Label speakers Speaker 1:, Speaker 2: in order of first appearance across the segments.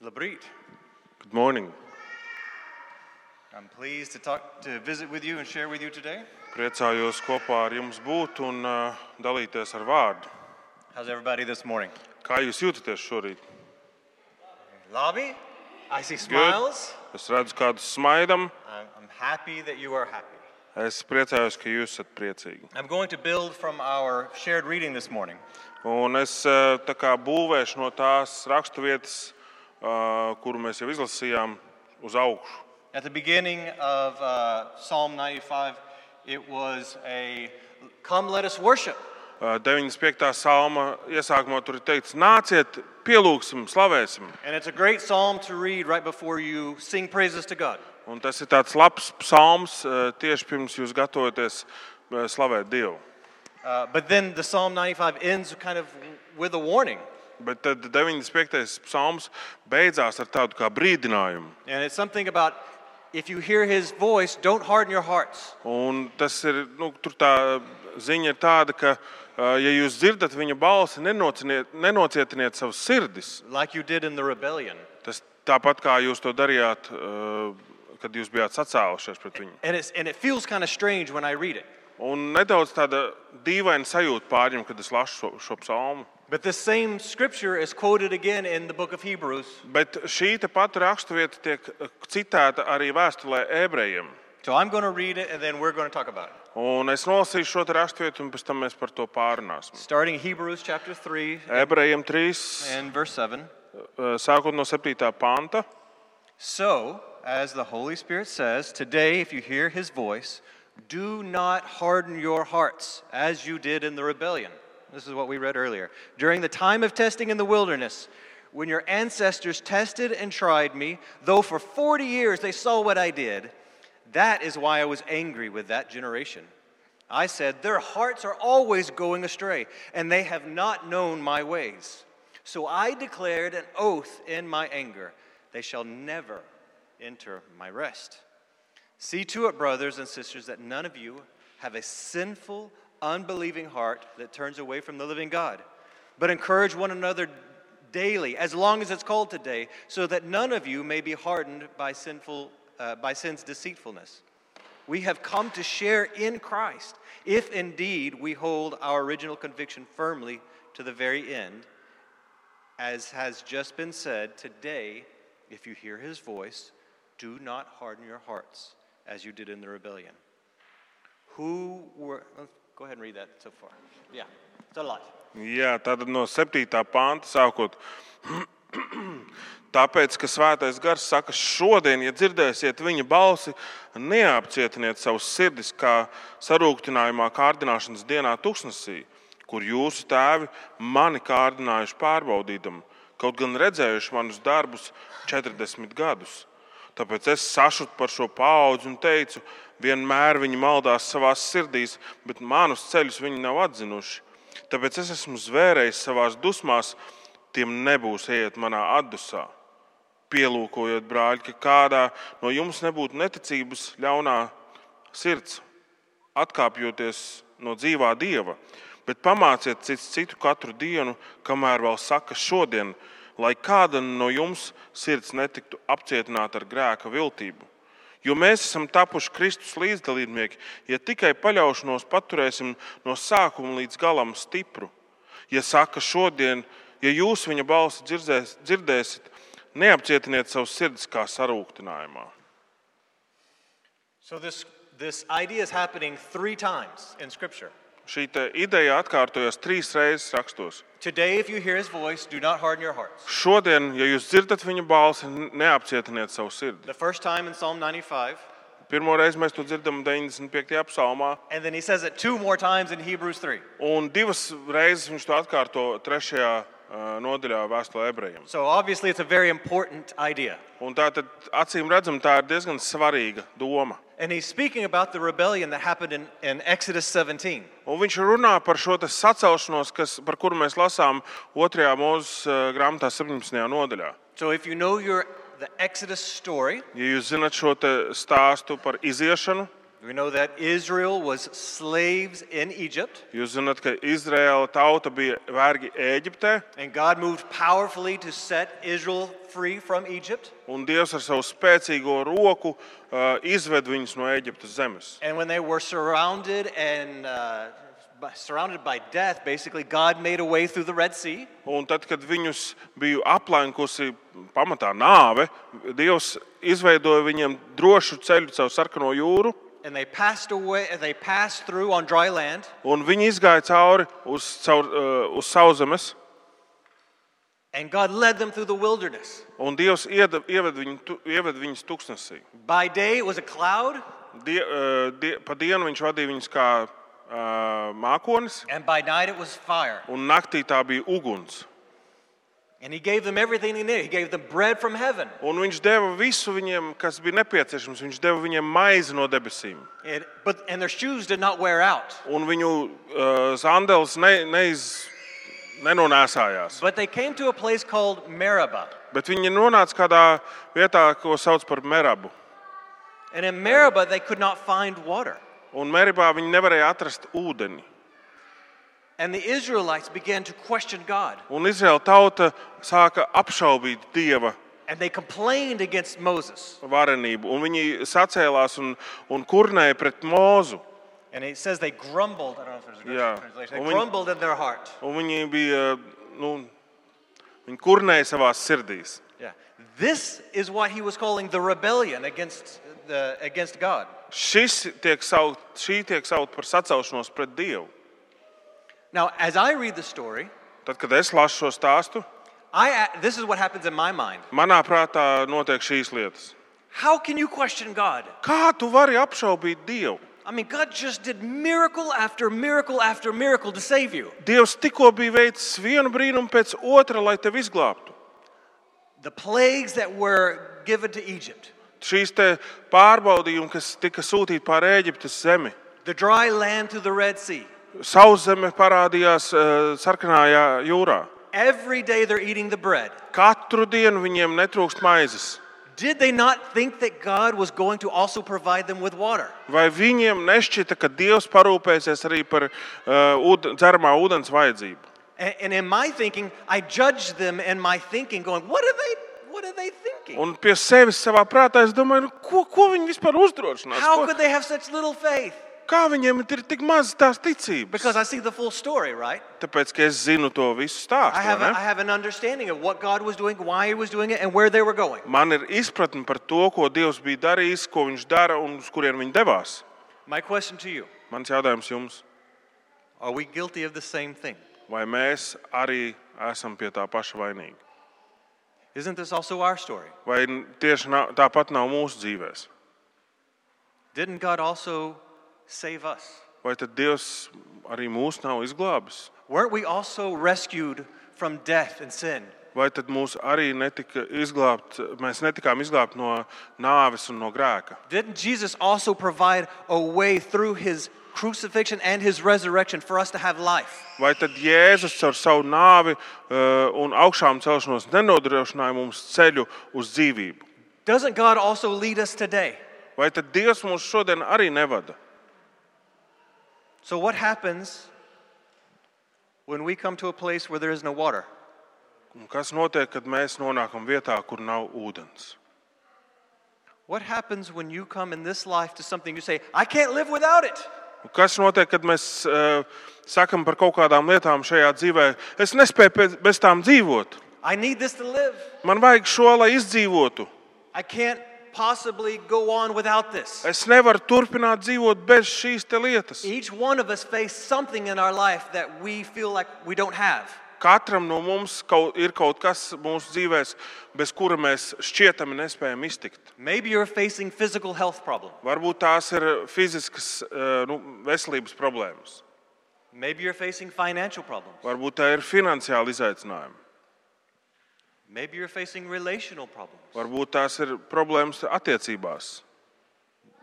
Speaker 1: Labrīt.
Speaker 2: Good morning.
Speaker 1: I'm pleased to talk to visit with you and share with you today.
Speaker 2: Priecājos kopā ar jums būt un ā, dalīties ar vārdu.
Speaker 1: How's everybody this morning?
Speaker 2: Kā jūs jūtaties šorīt?
Speaker 1: Lobby? I see smiles.
Speaker 2: Es redzu, kādus smaidam.
Speaker 1: I'm, I'm happy that you are happy.
Speaker 2: Es priecājos, ka jūs esat priecīgi.
Speaker 1: I'm going to build from our shared reading this morning.
Speaker 2: Un es ā, tā kā būvēšu no tās raksturvietas, ā, kuru mēs jau izlasījām, uz augšu.
Speaker 1: At the beginning of uh, Psalm 95, it was a come let us worship.
Speaker 2: Ā, 95. Uh, salma iesākumā tur ir teikts: Nāciet, pielūgsim, slavēsim.
Speaker 1: And it's a great psalm to read right before you sing praises to God.
Speaker 2: Un tas ir tāds labs psalms ā, tieši pirms jūs gatavoties ā, slavēt Dievu.
Speaker 1: Uh, but then the Psalm 95 ends kind of with a warning.
Speaker 2: Bet tad 95. psalms beidzās ar tādu kā brīdinājumu.
Speaker 1: And it's something about if you hear his voice, don't harden your hearts.
Speaker 2: Un tas ir, nu, tur tā ziņa ir tāda, ka, ā, ja jūs dzirdat viņa balsi, nenociniet- nenocietiniet savas sirdis.
Speaker 1: Like you did in the rebellion.
Speaker 2: Tas tāpat kā jūs to darījāt, ā, kad jūs bijāt sacēlušies pret viņu.
Speaker 1: And, it's, and it feels kind of strange when I read it.
Speaker 2: Un nedaudz tāda dīvaina sajūta pārņem, kad es lasu šo, šo psalmu.
Speaker 1: But this same scripture is quoted again in the book of Hebrews.
Speaker 2: Bet šī te pati raksturvieta tiek ā, citēta arī vēstulē ebrejiem.
Speaker 1: So I'm going to read it and then we're going to talk about it.
Speaker 2: Un es nolasīšu šo te raksturvietu, un pēc tam mēs par to pārunāsim.
Speaker 1: Starting Hebrews chapter 3
Speaker 2: Ebrejiem 3,
Speaker 1: and verse 7.
Speaker 2: sākot no 7. panta.
Speaker 1: So, as the Holy Spirit says, today if you hear his voice, do not harden your hearts as you did in the rebellion. This is what we read earlier. During the time of testing in the wilderness, when your ancestors tested and tried me, though for 40 years they saw what I did, that is why I was angry with that generation. I said, Their hearts are always going astray, and they have not known my ways. So I declared an oath in my anger they shall never enter my rest. See to it, brothers and sisters, that none of you have a sinful, unbelieving heart that turns away from the living God, but encourage one another daily, as long as it's called today, so that none of you may be hardened by, sinful, uh, by sin's deceitfulness. We have come to share in Christ, if indeed we hold our original conviction firmly to the very end. As has just been said, today, if you hear his voice, do not harden your hearts as you did in the rebellion. Who were. Let's go ahead and read that so far. Yeah, it's a lot.
Speaker 2: Jā, tad no 7. panta sākot. Tāpēc, ka svētais gars saka, šodien, ja dzirdēsiet viņa balsi, neapcietiniet savus sirdis, kā sarūktinājumā kārdināšanas dienā tuksnesī, kur jūsu tēvi mani kārdinājuši pārbaudītam, kaut gan redzējuši manus darbus 40 gadus. Tāpēc es sašutu par šo paudzi un teicu, vienmēr viņi maldās savā sirdīs, bet manus ceļus viņi nav atzinuši. Tāpēc es esmu zvērējis savā dusmās, tiem nebūs ejiet manā atdusā. Pielūkojiet, brāļi, ka kādā no jums nebūtu neticības ļaunā sirds, atkāpjoties no dzīvā dieva, bet pamāciet cits citu katru dienu, kamēr vēl saka šodien, lai kāda no jums sirds netiktu apcietināta ar grēka viltību. Jo mēs esam tapuši Kristus līdzdalībnieki, ja tikai paļaušanos paturēsim no sākuma līdz galam stipru. Ja saka šodien, ja jūs viņa balsi dzirdzēs- dzirdēsiet, neapcietiniet savus sirdis kā sarūktinājumā.
Speaker 1: So, this, this idea is happening three times in Scripture.
Speaker 2: Šī te ideja atkārtojas trīs reizes rakstos.
Speaker 1: Today, if you hear his voice, do not harden your hearts.
Speaker 2: Šodien, ja jūs dzirdat viņa balsi, neapcietiniet savu sirdi.
Speaker 1: The first time in Psalm 95,
Speaker 2: Pirmo reizi mēs to dzirdam 95. psalmā,
Speaker 1: and then he says it two more times in Hebrews 3.
Speaker 2: un divas reizes viņš to atkārto 3. nodaļā vēstulē ebrejiem.
Speaker 1: So, obviously, it's a very important idea.
Speaker 2: Un tā tad acīm redzam, tā ir diezgan svarīga doma.
Speaker 1: And he's speaking about the rebellion that happened in, in Exodus 17.
Speaker 2: Un viņš runā par šo te sacelšanos, kas, par kuru mēs lasām 2. mūzes grāmatā, 17. nodaļā.
Speaker 1: So if you know your the Exodus story,
Speaker 2: Ja jūs zinat šo te stāstu par iziešanu,
Speaker 1: We know that Israel was slaves in Egypt,
Speaker 2: Jūs zināt, ka Izraēla tauta bija vergi Ēģiptē,
Speaker 1: and God moved powerfully to set Israel free from Egypt.
Speaker 2: un Dievs ar savu spēcīgo roku uh, izved viņus no Ēģiptes zemes.
Speaker 1: And when they were surrounded and uh, by- surrounded by death, basically God made a way through the Red Sea.
Speaker 2: Un tad, kad viņus bija aplenkusi pamatā nāve, Dievs izveidoja viņiem drošu ceļu caur sarkano jūru,
Speaker 1: And they passed away. They passed through on dry land.
Speaker 2: un viņi izgāja cauri uz, caur, uh, uz sauszemes,
Speaker 1: And God led them through the wilderness.
Speaker 2: un Dievs ieda, ieved, viņu, tu- ieved viņus tuksnesī.
Speaker 1: By day it was a cloud,
Speaker 2: Die, uh, die, pa dienu viņš vadīja viņus kā uh, mākonis,
Speaker 1: and by night it was fire.
Speaker 2: un naktī tā bija uguns.
Speaker 1: And He gave them everything they needed. He gave them bread from heaven.
Speaker 2: Un viņš deva visu viņiem, kas bija nepieciešams. Viņš deva viņiem maizi no debesīm.
Speaker 1: And, but, and their shoes did not wear out.
Speaker 2: Un viņu uh, zandels ne, neiz, nenonēsājās.
Speaker 1: But they came to a place called Meribah.
Speaker 2: Bet viņi nonāca kādā vietā, ko sauc par merabu.
Speaker 1: And in Meribah, they could not find water.
Speaker 2: Un meribā viņi nevarēja atrast ūdeni.
Speaker 1: And the Israelites began to question God.
Speaker 2: Un Izraēla tauta sāka apšaubīt dieva
Speaker 1: And they complained against Moses.
Speaker 2: varenību. Un viņi sacēlās un, un kurnēja pret mūzu.
Speaker 1: And it says they grumbled. I don't know if there's a good
Speaker 2: Yeah.
Speaker 1: translation.
Speaker 2: Well,
Speaker 1: They
Speaker 2: when-
Speaker 1: grumbled in their heart.
Speaker 2: Un viņi bija, nu, viņi kurnēja savā sirdīs.
Speaker 1: Yeah. This is what he was calling the rebellion against, the, against God.
Speaker 2: Šis tiek saukt, šī tiek saukt par sacaušanos pret dievu.
Speaker 1: Now, as I read the story,
Speaker 2: Tad, kad es lasu šo stāstu,
Speaker 1: I, uh, this is what happens in my mind.
Speaker 2: manā prātā notiek šīs lietas.
Speaker 1: How can you question God?
Speaker 2: Kā tu vari apšaubīt dievu?
Speaker 1: I mean, God just did miracle after miracle after miracle to save you.
Speaker 2: Dievs tikko bija veicis vienu brīnumu pēc otra, lai tevi izglābtu.
Speaker 1: The plagues that were given to Egypt,
Speaker 2: Šīs te pārbaudījumi, kas tika sūtīti pāri Eģiptes zemi,
Speaker 1: the dry land through the Red Sea.
Speaker 2: sauszeme parādījās eh, sarkanajā jūrā.
Speaker 1: Every day they're eating the bread.
Speaker 2: Katru dienu viņiem netrūkst maizes.
Speaker 1: Did they not think that God was going to also provide them with water?
Speaker 2: Vai viņiem nešķita, ka Dievs parūpēsies arī par uh, dzeramā ūdens vajadzību?
Speaker 1: And, and in my thinking, I judged them in my thinking, going, what are they, what are they thinking?
Speaker 2: Un pie sevis savā prātā es domāju, nu, ko, ko viņi vispār uzdrošinās?
Speaker 1: How
Speaker 2: Ko,
Speaker 1: could they have such little faith?
Speaker 2: kā viņiem ir tik maz tās ticības?
Speaker 1: Because I see the full story, right?
Speaker 2: Tāpēc, ka es zinu to visu stāstu.
Speaker 1: I have, a,
Speaker 2: vai ne?
Speaker 1: I have an understanding of what God was doing, why He was doing it, and where they were going.
Speaker 2: Man ir izpratne par to, ko Dievs bija darījis, ko viņš dara un uz kurien viņš devās.
Speaker 1: My question to you
Speaker 2: Mans jautājums jums,
Speaker 1: are we guilty of the same thing?
Speaker 2: vai mēs arī esam pie tā paša vainīgi?
Speaker 1: Isn't this also our story?
Speaker 2: Vai n- tieši nā- tāpat nav mūsu dzīvēs?
Speaker 1: Didn't God also save us?
Speaker 2: Vai tad Dievs arī mūs nav izglābis?
Speaker 1: Weren't we also rescued from death and sin?
Speaker 2: Vai tad mūs arī netika izglābt, mēs netikām izglābti no nāves un no grēka?
Speaker 1: Didn't Jesus also provide a way through his crucifixion and his resurrection for us to have life?
Speaker 2: Vai tad Jēzus ar savu nāvi eh, un augšām celšanos nenodrošināja mums ceļu uz dzīvību?
Speaker 1: Doesn't God also lead us today?
Speaker 2: Vai tad Dievs mūs šodien arī nevada?
Speaker 1: So, what happens when we come to a place where there is no water?
Speaker 2: Un kas notiek, kad mēs nonākam vietā, kur nav ūdens?
Speaker 1: What happens when you come in this life to something you say, I can't live without it?
Speaker 2: Un kas notiek, kad mēs uh, sakam par kaut kādām lietām šajā dzīvē? Es nespēju pēc- bez tām dzīvot.
Speaker 1: I need this to live.
Speaker 2: Man vajag šo, lai izdzīvotu.
Speaker 1: I can't possibly go on without this.
Speaker 2: Es nevaru turpināt dzīvot bez šīs te lietas.
Speaker 1: Each one of us face something in our life that we feel like we don't have.
Speaker 2: Katram no mums kaut, ir kaut kas mūsu dzīvēs, bez kura mēs šķietami nespējam iztikt.
Speaker 1: Maybe you're facing physical health problems.
Speaker 2: Varbūt tās ir fiziskas eh, nu, veselības problēmas,
Speaker 1: Maybe you're facing financial problems.
Speaker 2: varbūt tā ir finansiāla izaicinājuma.
Speaker 1: Maybe you're facing relational problems.
Speaker 2: Varbūt tās ir problēmas attiecībās.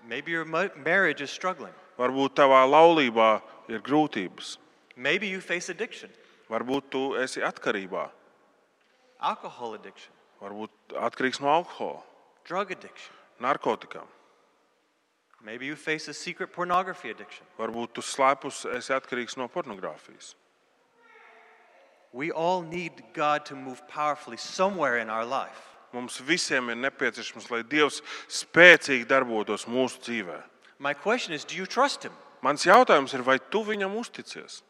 Speaker 1: Maybe your mo- marriage is struggling.
Speaker 2: Varbūt tavā laulībā ir grūtības.
Speaker 1: Maybe you face addiction,
Speaker 2: Varbūt tu esi atkarībā.
Speaker 1: alcohol addiction,
Speaker 2: Varbūt atkarīgs no alkohola,
Speaker 1: drug addiction.
Speaker 2: narkotikām.
Speaker 1: Maybe you face a secret pornography addiction.
Speaker 2: Varbūt tu slēpus esi atkarīgs no pornogrāfijas.
Speaker 1: We all need God to move powerfully somewhere in our life.
Speaker 2: Mums visiem ir nepieciešams, lai Dievs spēcīgi darbotos mūsu dzīvē.
Speaker 1: My question is do you trust Him?
Speaker 2: Mans jautājums ir, vai tu viņam uzticies?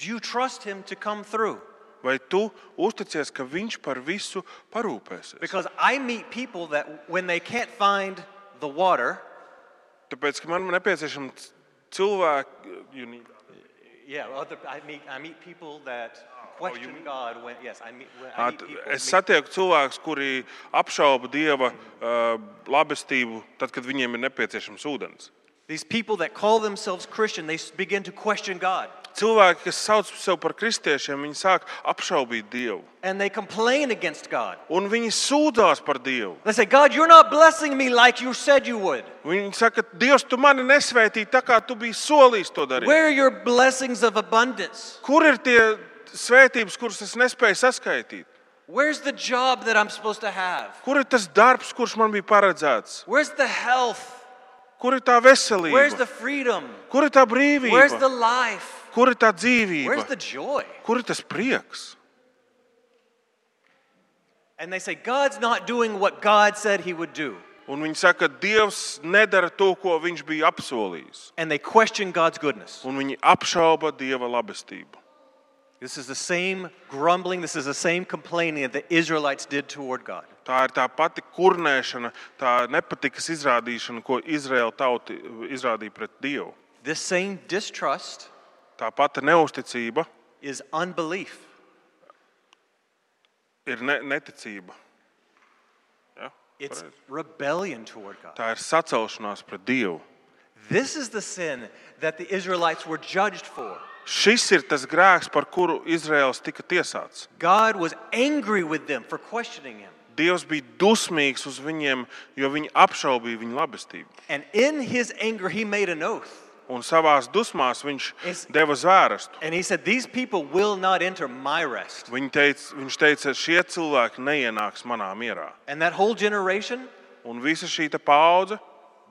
Speaker 1: Do you trust Him to come through?
Speaker 2: Vai tu uzticies, ka viņš par visu parūpēsies?
Speaker 1: Because I meet people that when they can't find the water,
Speaker 2: Tāpēc, ka man ir nepieciešama c- cilvēka. you need-
Speaker 1: yeah, other, I, meet, I meet people that question God when, yes, I meet, when I
Speaker 2: Ā,
Speaker 1: meet
Speaker 2: t-
Speaker 1: people.
Speaker 2: Es
Speaker 1: meet-
Speaker 2: satieku cilvēkus, kuri apšauba dieva uh, labestību, tad, kad viņiem ir nepieciešams ūdens.
Speaker 1: These people that call themselves Christian, they s- begin to question God.
Speaker 2: Cilvēki, kas sauc sevi par kristiešiem, viņi sāk apšaubīt dievu.
Speaker 1: And they complain against God.
Speaker 2: Un viņi sūdzās par dievu.
Speaker 1: They say, God, you're not blessing me like you said you would.
Speaker 2: Viņi saka, Dievs, tu mani nesvētīji tā, kā tu biji solījis to darīt.
Speaker 1: Where are your blessings of abundance?
Speaker 2: Kur ir tie svētības, kuras es nespēju saskaitīt?
Speaker 1: Where's the job that I'm supposed to have?
Speaker 2: Kur ir tas darbs, kurš man bija paredzēts?
Speaker 1: Where's the health?
Speaker 2: Kur ir tā
Speaker 1: Where's the
Speaker 2: veselība?
Speaker 1: freedom?
Speaker 2: Kur ir tā
Speaker 1: Where's the
Speaker 2: brīvība?
Speaker 1: life?
Speaker 2: Kur ir tā
Speaker 1: Where's
Speaker 2: dzīvība?
Speaker 1: the joy?
Speaker 2: Kur ir tas prieks?
Speaker 1: And they say, God's not doing what God said he would do.
Speaker 2: Un viņi saka, Dievs nedara to, ko viņš bija apsolījis.
Speaker 1: And they question God's goodness.
Speaker 2: Un viņi apšauba Dieva labestību.
Speaker 1: This is the same grumbling, this is the same complaining that the Israelites did toward God.
Speaker 2: Tā ir tā pati kurnēšana, tā nepatikas izrādīšana, ko Izraēla tauta izrādīja pret Dievu.
Speaker 1: This same distrust
Speaker 2: Tā pati neusticība
Speaker 1: is unbelief.
Speaker 2: ir ne, neticība. Ja?
Speaker 1: It's
Speaker 2: pareizi.
Speaker 1: rebellion toward God.
Speaker 2: Tā ir sacelšanās pret Dievu.
Speaker 1: This is the sin that the Israelites were judged for.
Speaker 2: Šis ir tas grēks, par kuru Izraels tika tiesāts.
Speaker 1: God was angry with them for questioning him.
Speaker 2: Dievs bija dusmīgs uz viņiem, jo viņi apšaubīja viņu labestību.
Speaker 1: And in his anger, he made an oath.
Speaker 2: Un savā dusmās viņš
Speaker 1: Es-
Speaker 2: deva zvērestu.
Speaker 1: And he said, These people will not enter my rest.
Speaker 2: Viņa teica, viņš teica, šie cilvēki neienāks manā mierā.
Speaker 1: And that whole generation,
Speaker 2: Un visa šī te paudze,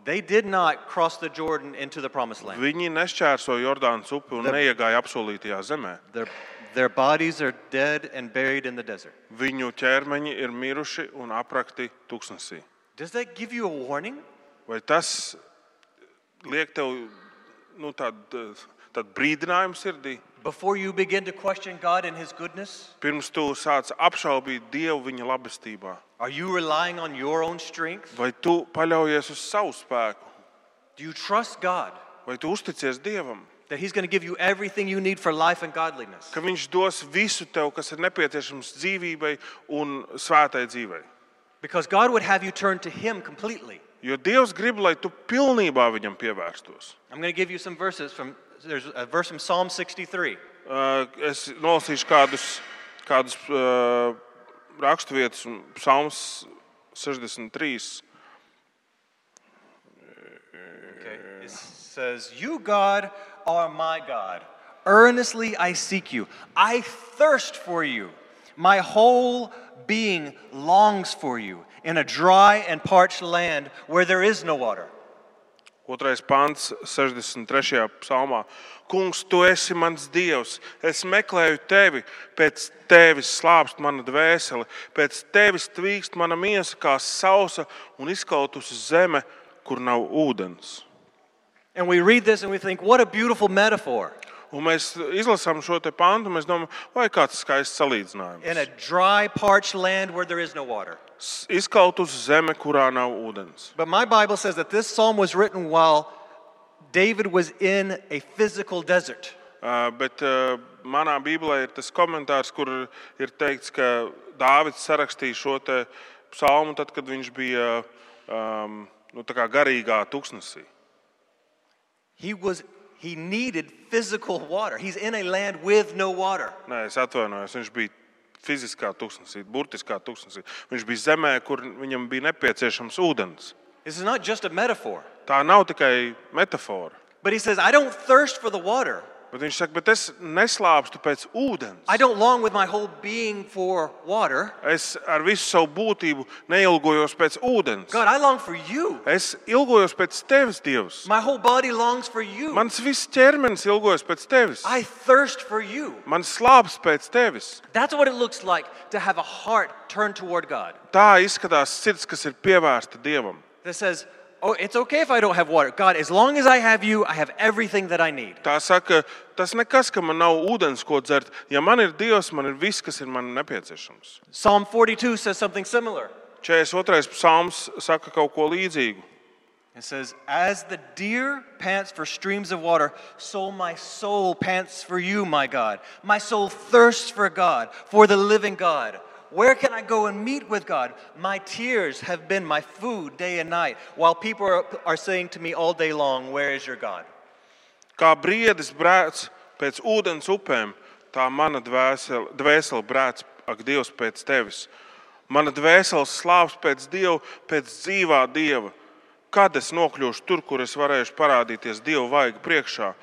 Speaker 1: they did not cross the Jordan into the promised land.
Speaker 2: viņi nešķērso Jordānas upi un
Speaker 1: Tad-
Speaker 2: neiegāja apsolītajā zemē.
Speaker 1: Their, their bodies are dead and buried in the desert.
Speaker 2: Viņu ķermeņi ir miruši un aprakti tūkstnesī.
Speaker 1: Does that give you a warning?
Speaker 2: Vai tas liek tev nu, tādu, tādu brīdinājumu sirdī?
Speaker 1: Before you begin to question God and his goodness,
Speaker 2: Pirms tu sāc apšaubīt Dievu viņa labestībā,
Speaker 1: are you relying on your own strength?
Speaker 2: vai tu paļaujies uz savu spēku,
Speaker 1: Do you trust God
Speaker 2: vai tu uzticies Dievam,
Speaker 1: that he's going to give you everything you need for life and godliness?
Speaker 2: ka Viņš dos visu tev, kas ir nepieciešams dzīvībai un svētai dzīvei.
Speaker 1: Because God would have you turn to him completely.
Speaker 2: Jo Dievs grib, lai tu pilnībā viņam pievērstos.
Speaker 1: I'm going to give you some verses from there's a verse from Psalm 63.
Speaker 2: Uh, Es nolasīšu kādus, kādus uh, raksturvietas, un Psalms 63.
Speaker 1: Okay. It says, "You God are my God. Earnestly I seek you. I thirst for you. My whole being longs for you in a dry and parched land where there is no water."
Speaker 2: Otrais pants, 63. psalmā. Kungs, tu esi mans dievs. Es meklēju tevi, pēc tevis slāpst mana dvēsele, pēc tevis tvīkst mana miesa kā sausa un izkautusi zeme, kur nav ūdens.
Speaker 1: And we read this and we think, "What a beautiful metaphor.
Speaker 2: Un mēs izlasām šo te pantu, un mēs domājam, vai kāds skaists
Speaker 1: In a
Speaker 2: salīdzinājums.
Speaker 1: dry parched land where there is no water."
Speaker 2: S- Izkautusi zeme, kurā nav ūdens.
Speaker 1: But my Bible says that this psalm was written while David was in a physical desert.
Speaker 2: Uh, Bet uh, manā Bībelē ir tas komentārs, kur ir teikts, ka Dāvids sarakstīja šo te psalmu, tad, kad viņš bija um, nu, tā kā garīgā tuksnesī.
Speaker 1: He was he needed physical water. He's in a land with no water.
Speaker 2: Nē, es atvainojos, viņš bija fiziskā tuksnesī, burtiskā tuksnesī. Viņš bija zemē, kur viņam bija nepieciešams ūdens.
Speaker 1: This is not just a metaphor.
Speaker 2: Tā nav tikai metāfora.
Speaker 1: But he says, I don't thirst for the water.
Speaker 2: Bet viņš saka, bet es neslāpstu pēc ūdens.
Speaker 1: I don't long with my whole being for water.
Speaker 2: Es ar visu savu būtību neilgojos pēc ūdens.
Speaker 1: God, I long for you.
Speaker 2: Es ilgojos pēc tevis, Dievs.
Speaker 1: My whole body longs for you.
Speaker 2: Mans viss ķermenis ilgojas pēc tevis.
Speaker 1: I thirst for you.
Speaker 2: Man slāpes pēc tevis.
Speaker 1: That's what it looks like to have a heart turned toward God
Speaker 2: Tā izskatās sirds, kas ir pievērsta Dievam.
Speaker 1: that says, Oh, it's okay if I don't have water. God, as long as I have you, I have everything that I need.
Speaker 2: Tā saka, tas nekas, ka man nav ūdens, ko dzert. Ja man ir Dievs, man ir viss, kas ir man nepieciešams.
Speaker 1: Psalm 42 says something similar.
Speaker 2: 42. psalms saka kaut ko līdzīgu.
Speaker 1: It says, As the deer pants for streams of water, so my soul pants for you, my God. My soul thirsts for God, for the living God. Where can I go and meet with God? My tears have been my food day and night, while people are, are saying to me all day long, Where is your God?
Speaker 2: Kā briedis brēc pēc ūdens upēm, tā mana dvēsele, dvēsele brēc, ak, Dievs, pēc tevis. Mana dvēsele slāps pēc Dieva, pēc dzīvā Dieva. Kad es nokļūšu tur, kur es varēšu parādīties Dieva vaiga priekšā?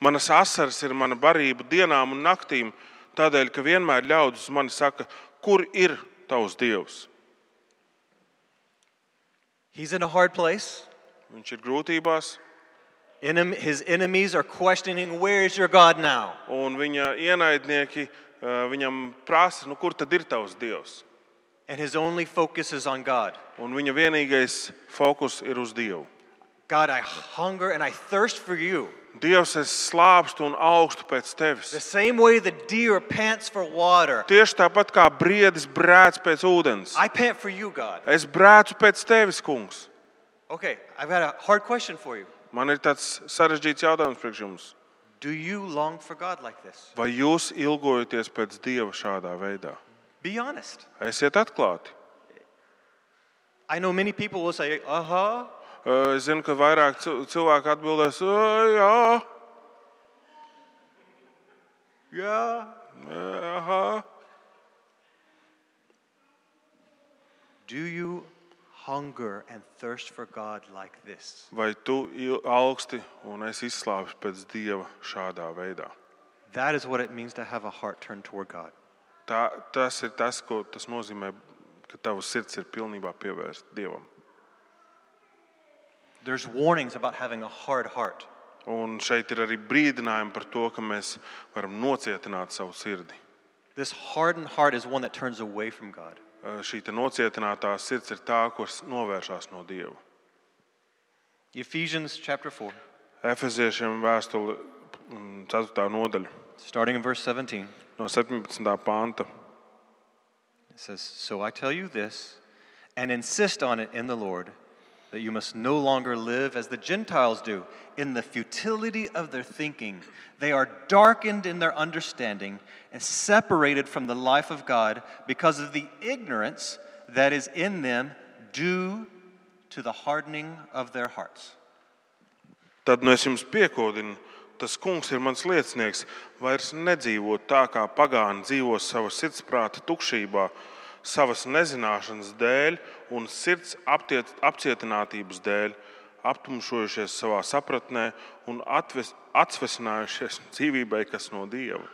Speaker 2: Manas asaras ir mana barība dienām un naktīm, tādēļ, ka vienmēr ļaudis man saka, kur ir tavs Dievs?
Speaker 1: He's in a hard place.
Speaker 2: Viņš ir grūtībās,
Speaker 1: Enem- His enemies are questioning, Where is your God now?
Speaker 2: un viņa ienaidnieki eh, viņam prasa, nu, kur tad ir tavs Dievs?
Speaker 1: And his only focus is on God.
Speaker 2: Un viņa vienīgais fokus ir uz Dievu.
Speaker 1: God, I hunger and I thirst for you.
Speaker 2: Dievs, es slāpstu un augstu pēc
Speaker 1: The
Speaker 2: tevis.
Speaker 1: same way the deer pants for water,
Speaker 2: Tieši tāpat kā briedis brēc pēc ūdens.
Speaker 1: I pant for you, God.
Speaker 2: Es brēcu pēc tevis, kungs.
Speaker 1: Okay, I've got a hard question for you.
Speaker 2: Man ir tāds sarežģīts jautājums priekš jums.
Speaker 1: Do you long for God like this?
Speaker 2: Vai jūs ilgojaties pēc Dieva šādā veidā?
Speaker 1: Be honest.
Speaker 2: Esiet atklāti.
Speaker 1: I know many people will say, uh huh.
Speaker 2: Eh, Es zinu, ka vairāk cil- cilvēku atbildēs, "Ā, jā,
Speaker 1: Yeah.
Speaker 2: ā, aha.
Speaker 1: Do you hunger and thirst for God like this?
Speaker 2: Vai tu il- augsti un es izslāpstu pēc Dieva šādā veidā?
Speaker 1: That is what it means to have a heart turned toward God.
Speaker 2: Tā, tas ir tas, ko tas nozīmē, ka tavs sirds ir pilnībā pievērsta Dievam.
Speaker 1: There's warnings about having a hard heart.
Speaker 2: Un šeit ir arī brīdinājumi par to, ka mēs varam nocietināt savu sirdi.
Speaker 1: This hardened heart is one that turns away from God.
Speaker 2: Eh, Šī te nocietinātā sirds ir tā, kas novēršas no Dieva.
Speaker 1: Ephesians chapter 4,
Speaker 2: Efeziešiem vēstule mm, 4. nodaļa,
Speaker 1: starting in verse 17,
Speaker 2: no 17. panta.
Speaker 1: it says, So I tell you this, and insist on it in the Lord, that you must no longer live as the Gentiles do, in the futility of their thinking. They are darkened in their understanding and separated from the life of God because of the ignorance that is in them due to the hardening of their hearts.
Speaker 2: Tad nu es jums piekodinu, tas kungs ir mans liecinieks. Vairs nedzīvot tā, kā pagāni dzīvo savas sirdsprāta tukšībā, savas nezināšanas dēļ un sirds aptiet, apcietinātības dēļ, aptumšojušies savā sapratnē un atves, atvesinājušies dzīvībai, kas no dieva.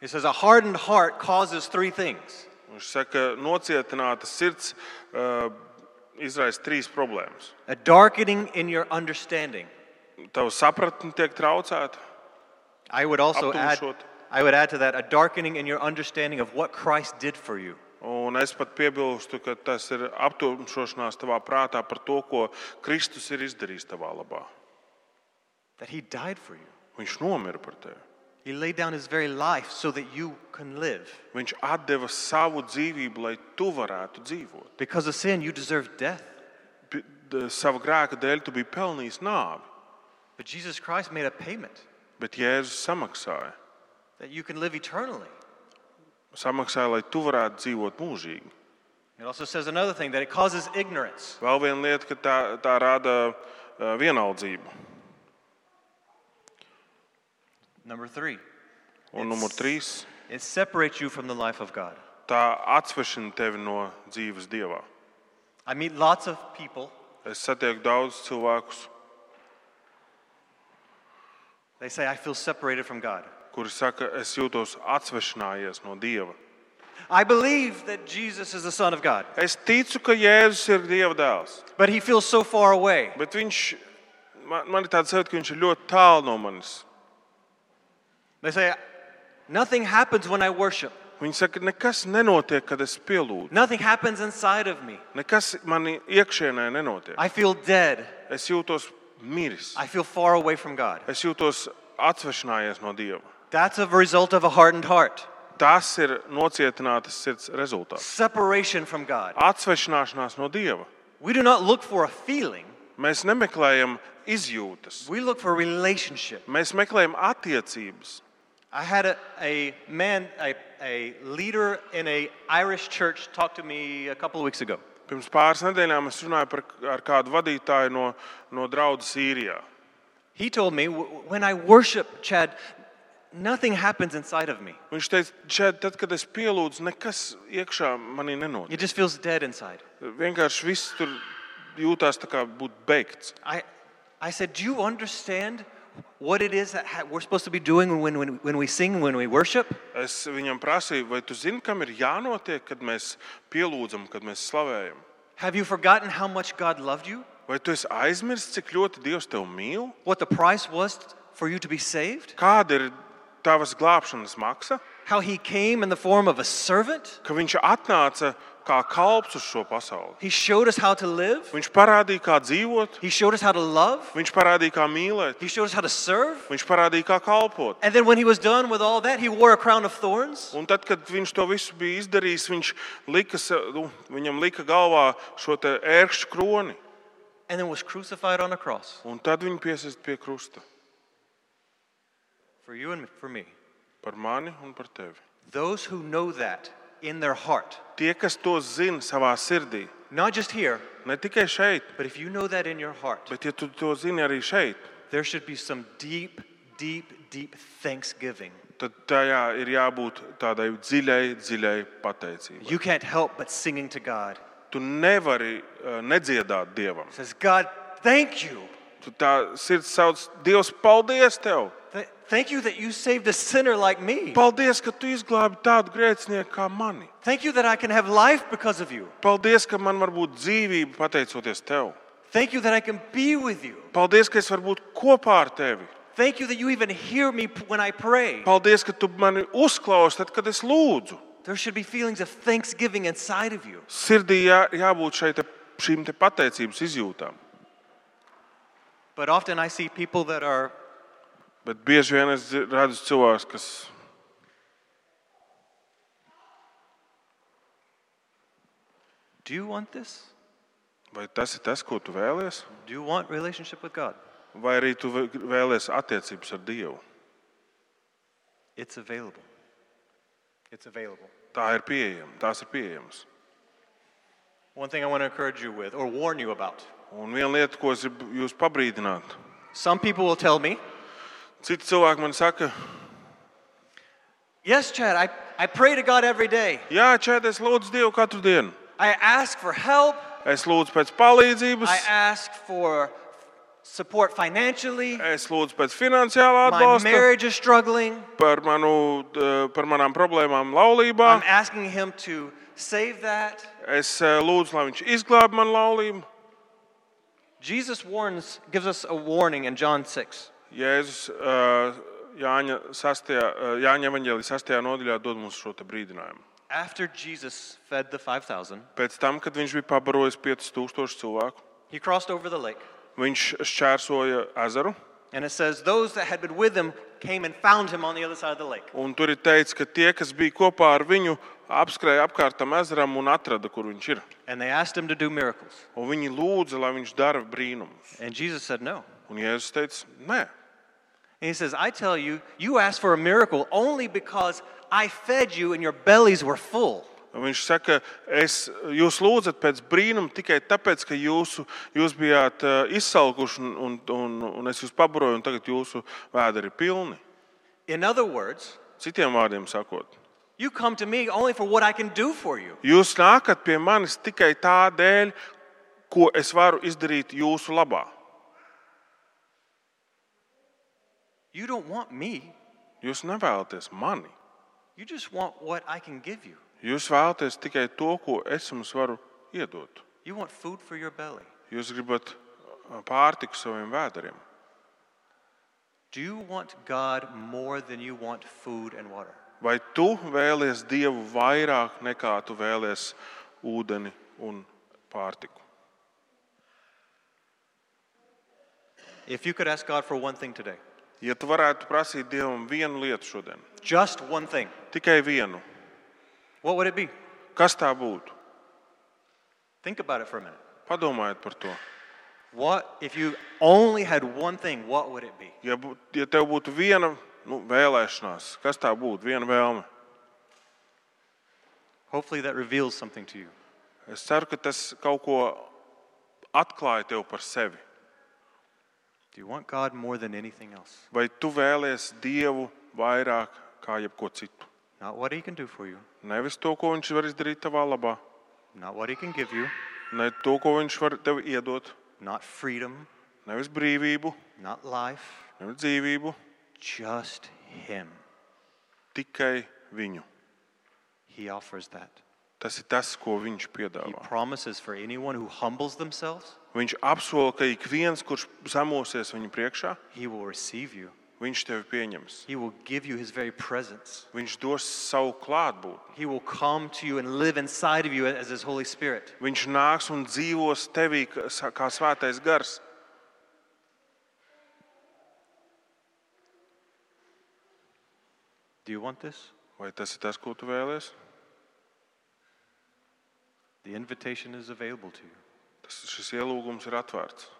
Speaker 1: It says, A hardened heart causes three things.
Speaker 2: Viņš saka, ka nocietināta sirds uh, izraisa trīs problēmas.
Speaker 1: A darkening in your understanding.
Speaker 2: Tava sapratne tiek traucēta,
Speaker 1: I would also add,
Speaker 2: Aptumšot.
Speaker 1: I would add to that a darkening in your understanding of what Christ did for you.
Speaker 2: Un es pat piebilstu, ka tas ir aptumšošanās tavā prātā par to, ko Kristus ir izdarījis tavā labā.
Speaker 1: That he died for you.
Speaker 2: Viņš nomira par tevi.
Speaker 1: He laid down his very life so that you can live.
Speaker 2: Viņš deva savu dzīvību, lai tu varētu dzīvot.
Speaker 1: Because of sin, you deserve death.
Speaker 2: Pi- d- Sava grēka dēļ tu biji pelnījis nāvi,
Speaker 1: But Jesus Christ made a payment
Speaker 2: bet Jēzus samaksāja.
Speaker 1: that you can live eternally.
Speaker 2: Samaksāja, lai tu varētu dzīvot mūžīgi.
Speaker 1: It also says another thing that it causes ignorance.
Speaker 2: Vēl viena lieta, ka tā, tā rada eh, vienaldzību.
Speaker 1: Number three,
Speaker 2: Un numur trīs -
Speaker 1: it separates you from the life of God.
Speaker 2: tā atsvešina tevi no dzīves dievā.
Speaker 1: I meet lots of people
Speaker 2: Es satieku daudz cilvēkus,
Speaker 1: They say, I feel separated from God.
Speaker 2: kuri saka, es jūtos atsvešinājies no Dieva.
Speaker 1: I believe that Jesus is the Son of God,
Speaker 2: Es ticu, ka Jēzus ir Dieva dēls,
Speaker 1: but he feels so far away.
Speaker 2: bet viņš, man, man ir tāds sajūta, ka viņš ir ļoti tālu no manis.
Speaker 1: They say, Nothing happens when I worship,
Speaker 2: Viņa saka, nekas nenotiek, kad es pielūdzu.
Speaker 1: nothing happens inside of me.
Speaker 2: Nekas manī iekšienē nenotiek.
Speaker 1: I feel dead.
Speaker 2: Es jūtos miris.
Speaker 1: I feel far away from God.
Speaker 2: Es jūtos atsvešinājies no Dieva.
Speaker 1: That's a result of a hardened heart.
Speaker 2: Tas ir nocietinātas sirds rezultāts.
Speaker 1: Separation from God.
Speaker 2: Atsvešināšanās no Dieva.
Speaker 1: We do not look for a feeling,
Speaker 2: Mēs nemeklējam izjūtas,
Speaker 1: we look for a relationship.
Speaker 2: mēs meklējam attiecības.
Speaker 1: I had a, a man, a, a leader in a Irish church talk to me a couple of weeks ago.
Speaker 2: Pirms pāris nedēļām es runāju par, ar kādu vadītāju no, no draudzes Sīrijā.
Speaker 1: He told me, "W- when I worship, Chad, nothing happens inside of me.
Speaker 2: Viņš teica, šeit, tad, kad es pielūdzu, nekas iekšā manī
Speaker 1: It
Speaker 2: nenotiek.
Speaker 1: just feels dead inside.
Speaker 2: Vienkārši viss tur jūtās tā kā būtu beigts.
Speaker 1: I, I said, Do you understand what it is that ha- we're supposed to be doing when, when, when we sing, when we worship?
Speaker 2: Es viņam prasīju, vai tu zini, kam ir jānotiek, kad mēs pielūdzam, kad mēs slavējam?
Speaker 1: Have you forgotten how much God loved you?
Speaker 2: Vai tu esi aizmirsis, cik ļoti Dievs tevi mīl?
Speaker 1: What the price was for you to be saved?
Speaker 2: Kāda ir tavas glābšanas maksa?
Speaker 1: How he came in the form of a servant?
Speaker 2: Ka viņš atnāca kā kalps uz šo pasauli.
Speaker 1: He showed us how to live.
Speaker 2: Viņš parādīja, kā dzīvot,
Speaker 1: He showed us how to love.
Speaker 2: viņš parādīja, kā mīlēt,
Speaker 1: He showed us how to serve.
Speaker 2: viņš parādīja, kā kalpot.
Speaker 1: And then when he was done with all that, he wore a crown of thorns.
Speaker 2: Un tad, kad viņš to visu bija izdarījis, viņš lika, se- nu, viņam lika galvā šo te ērkšķu kroni,
Speaker 1: and then was crucified on a cross
Speaker 2: un tad viņu piesaist pie krusta
Speaker 1: for you and for me.
Speaker 2: par mani un par tevi.
Speaker 1: Those who know that in their heart,
Speaker 2: Tie, kas to zina savā sirdī,
Speaker 1: not just here,
Speaker 2: ne tikai šeit,
Speaker 1: but if you know that in your heart,
Speaker 2: bet ja tu to zini arī šeit,
Speaker 1: there should be some deep, deep, deep thanksgiving.
Speaker 2: tad tajā ir jābūt tādai dziļai, dziļai pateicībai.
Speaker 1: You can't help but singing to God.
Speaker 2: Tu nevari eh, nedziedāt dievam.
Speaker 1: says, God, thank you.
Speaker 2: Tu tā sirds sauc, Dievs, paldies tev!
Speaker 1: Th- thank you that you saved a sinner like me.
Speaker 2: Paldies, ka tu izglābi tādu grēcinieku kā mani!
Speaker 1: Thank you that I can have life because of you.
Speaker 2: Paldies, ka man var būt dzīvība pateicoties tev.
Speaker 1: Thank you that I can be with you.
Speaker 2: Paldies, ka es varu būt kopā ar tevi.
Speaker 1: Thank you that you even hear me p- when I pray.
Speaker 2: Paldies, ka tu mani uzklausi, tad, kad es lūdzu.
Speaker 1: There should be feelings of thanksgiving inside of you.
Speaker 2: Sirdī jā, jābūt šai te, šīm te pateicības izjūtām.
Speaker 1: But often I see people that are
Speaker 2: Bet bieži vien es dzi- redzu cilvēkus, kas
Speaker 1: Do you want this?
Speaker 2: vai tas ir tas, ko tu vēlies,
Speaker 1: Do you want relationship with God?
Speaker 2: vai arī tu vē- vēlies attiecības ar Dievu.
Speaker 1: It's available. It's available.
Speaker 2: Tā ir pieejama, tās ir pieejamas.
Speaker 1: One thing I want to encourage you with or warn you about.
Speaker 2: Un viena lieta, ko es gribu jūs pabrīdināt,
Speaker 1: Some people will tell me,
Speaker 2: citi cilvēki man saka,
Speaker 1: Yes, Chad, I, I pray to God every day.
Speaker 2: jā, čēdi, es lūdzu Dievu katru dienu.
Speaker 1: I ask for help.
Speaker 2: Es lūdzu pēc palīdzības.
Speaker 1: I ask for support financially.
Speaker 2: Es lūdzu pēc finansiālā
Speaker 1: My
Speaker 2: atbalsta,
Speaker 1: marriage is struggling.
Speaker 2: par, manu, eh, par manām problēmām,
Speaker 1: I'm
Speaker 2: laulībā.
Speaker 1: asking Him to save that.
Speaker 2: Es eh, lūdzu, lai viņš izglāb manu laulību.
Speaker 1: Jesus warns, gives us a warning in John 6.
Speaker 2: Jēzus eh, Jāņa, 6, Jāņa evaņģēlī 6. nodaļā dod mums šo te brīdinājumu.
Speaker 1: After Jesus fed the 5,000,
Speaker 2: Pēc tam, kad viņš bija pabarojis 5000 cilvēku,
Speaker 1: he crossed over the lake.
Speaker 2: viņš šķērsoja ezeru.
Speaker 1: And it says, Those that had been with him came and found him on the other side of the lake.
Speaker 2: Un tur ir teikts, ka tie, kas bija kopā ar viņu, apskrēja apkārt tam ezeram un atrada, kur viņš ir.
Speaker 1: And they asked him to do miracles.
Speaker 2: Un viņi lūdza, lai viņš dara brīnumus.
Speaker 1: And Jesus said, No.
Speaker 2: Un Jēzus teica, nē,
Speaker 1: And he says, I tell you, you asked for a miracle only because I fed you and your bellies were full.
Speaker 2: Viņš saka, es, jūs lūdzat pēc brīnuma tikai tāpēc, ka jūsu, jūs bijāt eh, izsalkuši, un, un, un, un es jūs pabaroju, un tagad jūsu vēderi ir pilni.
Speaker 1: In other words,
Speaker 2: Citiem vārdiem sakot,
Speaker 1: you come to me only for what I can do for you.
Speaker 2: jūs nākat pie manis tikai tā dēļ, ko es varu izdarīt jūsu labā.
Speaker 1: You don't want me,
Speaker 2: Jūs nevēlaties mani.
Speaker 1: you just want what I can give you.
Speaker 2: Jūs vēlaties tikai to, ko es jums varu iedot.
Speaker 1: You want food for your belly.
Speaker 2: Jūs gribat ā, pārtiku saviem vēderiem.
Speaker 1: Do you want God more than you want food and water?
Speaker 2: Vai tu vēlies Dievu vairāk nekā tu vēlies ūdeni un pārtiku?
Speaker 1: If you could ask God for one thing today,
Speaker 2: Ja tu varētu prasīt Dievam vienu lietu šodien,
Speaker 1: just one thing,
Speaker 2: tikai vienu,
Speaker 1: what would it be?
Speaker 2: kas tā būtu?
Speaker 1: Think about it for a minute.
Speaker 2: Padomājiet par to.
Speaker 1: What if you only had one thing, what would it be?
Speaker 2: Ja, bū- ja tev būtu viena nu, vēlēšanās, kas tā būtu, viena vēlme,
Speaker 1: Hopefully that reveals something to you.
Speaker 2: es ceru, ka tas kaut ko atklāja tev par sevi.
Speaker 1: Do you want God more than anything else?
Speaker 2: Vai tu vēlies Dievu vairāk kā jebko citu?
Speaker 1: Not what he can do for you,
Speaker 2: Nevis to, ko Viņš var izdarīt tavā labā,
Speaker 1: not what he can give you,
Speaker 2: ne to, ko Viņš var tev iedot,
Speaker 1: not freedom,
Speaker 2: nevis brīvību,
Speaker 1: not life,
Speaker 2: nevis dzīvību,
Speaker 1: just him.
Speaker 2: tikai Viņu.
Speaker 1: He offers that.
Speaker 2: Tas ir tas, ko
Speaker 1: He
Speaker 2: Viņš piedāvā.
Speaker 1: promises for anyone who humbles themselves,
Speaker 2: Viņš apsola, ka ik viens, kurš zemosies Viņa priekšā,
Speaker 1: he will receive you.
Speaker 2: Viņš tevi pieņems.
Speaker 1: He will give you his very presence.
Speaker 2: Viņš dos savu klātbūtni.
Speaker 1: He will come to you and live inside of you as his Holy Spirit.
Speaker 2: Viņš nāks un dzīvos tevī kā s- kā svētais gars.
Speaker 1: Do you want this?
Speaker 2: Vai tas ir tas, ko tu vēlēsies?
Speaker 1: The invitation is available to you.
Speaker 2: Tas, šis ielūgums ir atvērts.